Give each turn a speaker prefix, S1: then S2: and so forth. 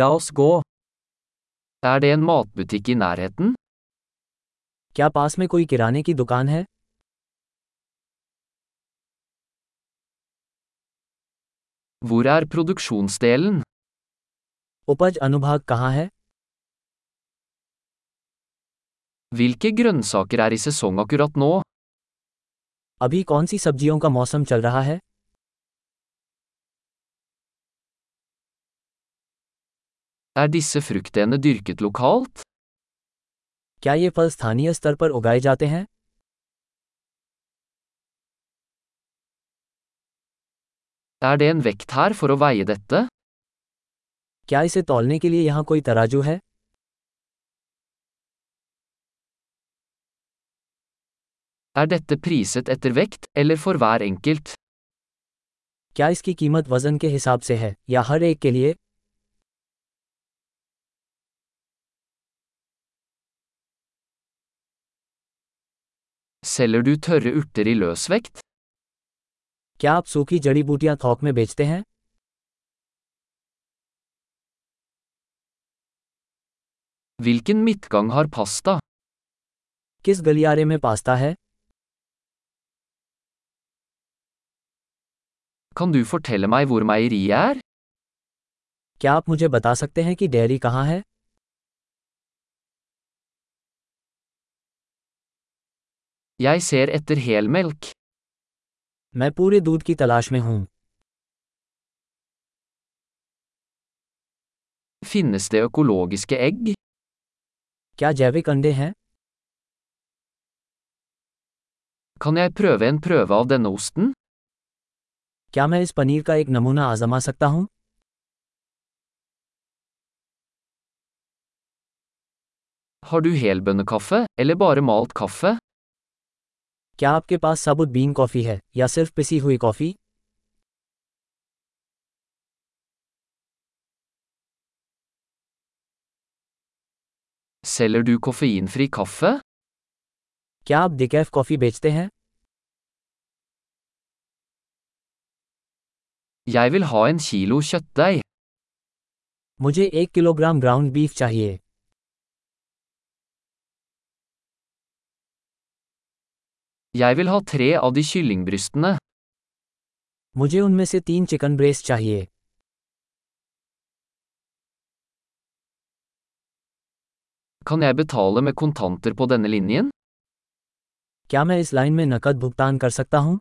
S1: La oss gå. Er det en matbutikk i nærheten?
S2: क्या पास में कोई किराने की दुकान है
S1: Hvor er produksjonsdelen?
S2: उपज अनुभाग कहाँ है
S1: Hvilke grønnsaker er i sesong akkurat nå?
S2: अभी कौन सी सब्जियों का मौसम चल रहा है
S1: Er disse fruktene dyrket lokalt?
S2: क्या ये फल स्थानीय स्तर पर उगाए जाते हैं
S1: Er det en vekt her for å veie dette?
S2: क्या इसे तौलने के लिए यहाँ कोई तराजू है
S1: Er dette priset etter vekt, eller for hver enkelt?
S2: क्या इसकी कीमत वजन के हिसाब से है या हर एक के लिए
S1: Selger du tørre urter i løsvekt?
S2: क्या आप सूखी जड़ी बूटियां थोक में बेचते हैं
S1: Hvilken midtgang har pasta?
S2: किस गलियारे में पास्ता है
S1: Kan du fortelle meg hvor meieriet er?
S2: क्या आप मुझे बता सकते हैं कि डेयरी कहाँ है
S1: Jeg ser etter helmelk.
S2: मैं पूरे दूध की तलाश में हूँ
S1: Finnes det økologiske egg?
S2: क्या जैविक अंडे हैं
S1: Kan jeg prøve en prøve av denne osten?
S2: क्या मैं इस पनीर का एक नमूना आजमा सकता हूँ
S1: Har du helbønnekaffe, eller bare malt kaffe?
S2: क्या आपके पास साबुत बीन कॉफ़ी है या सिर्फ पिसी हुई coffee
S1: Selger du koffeinfri kaffe?
S2: क्या आप डिकैफ कॉफ़ी बेचते हैं
S1: Jeg vil ha en kilo kjøttdeig.
S2: मुझे एक किलोग्राम ग्राउंड बीफ चाहिए
S1: Jeg vil ha tre av de kyllingbrystene.
S2: मुझे उनमें से तीन चिकन ब्रेस्ट चाहिए
S1: Kan jeg betale med kontanter på denne linjen?
S2: क्या मैं इस लाइन में नकद भुगतान कर सकता हूँ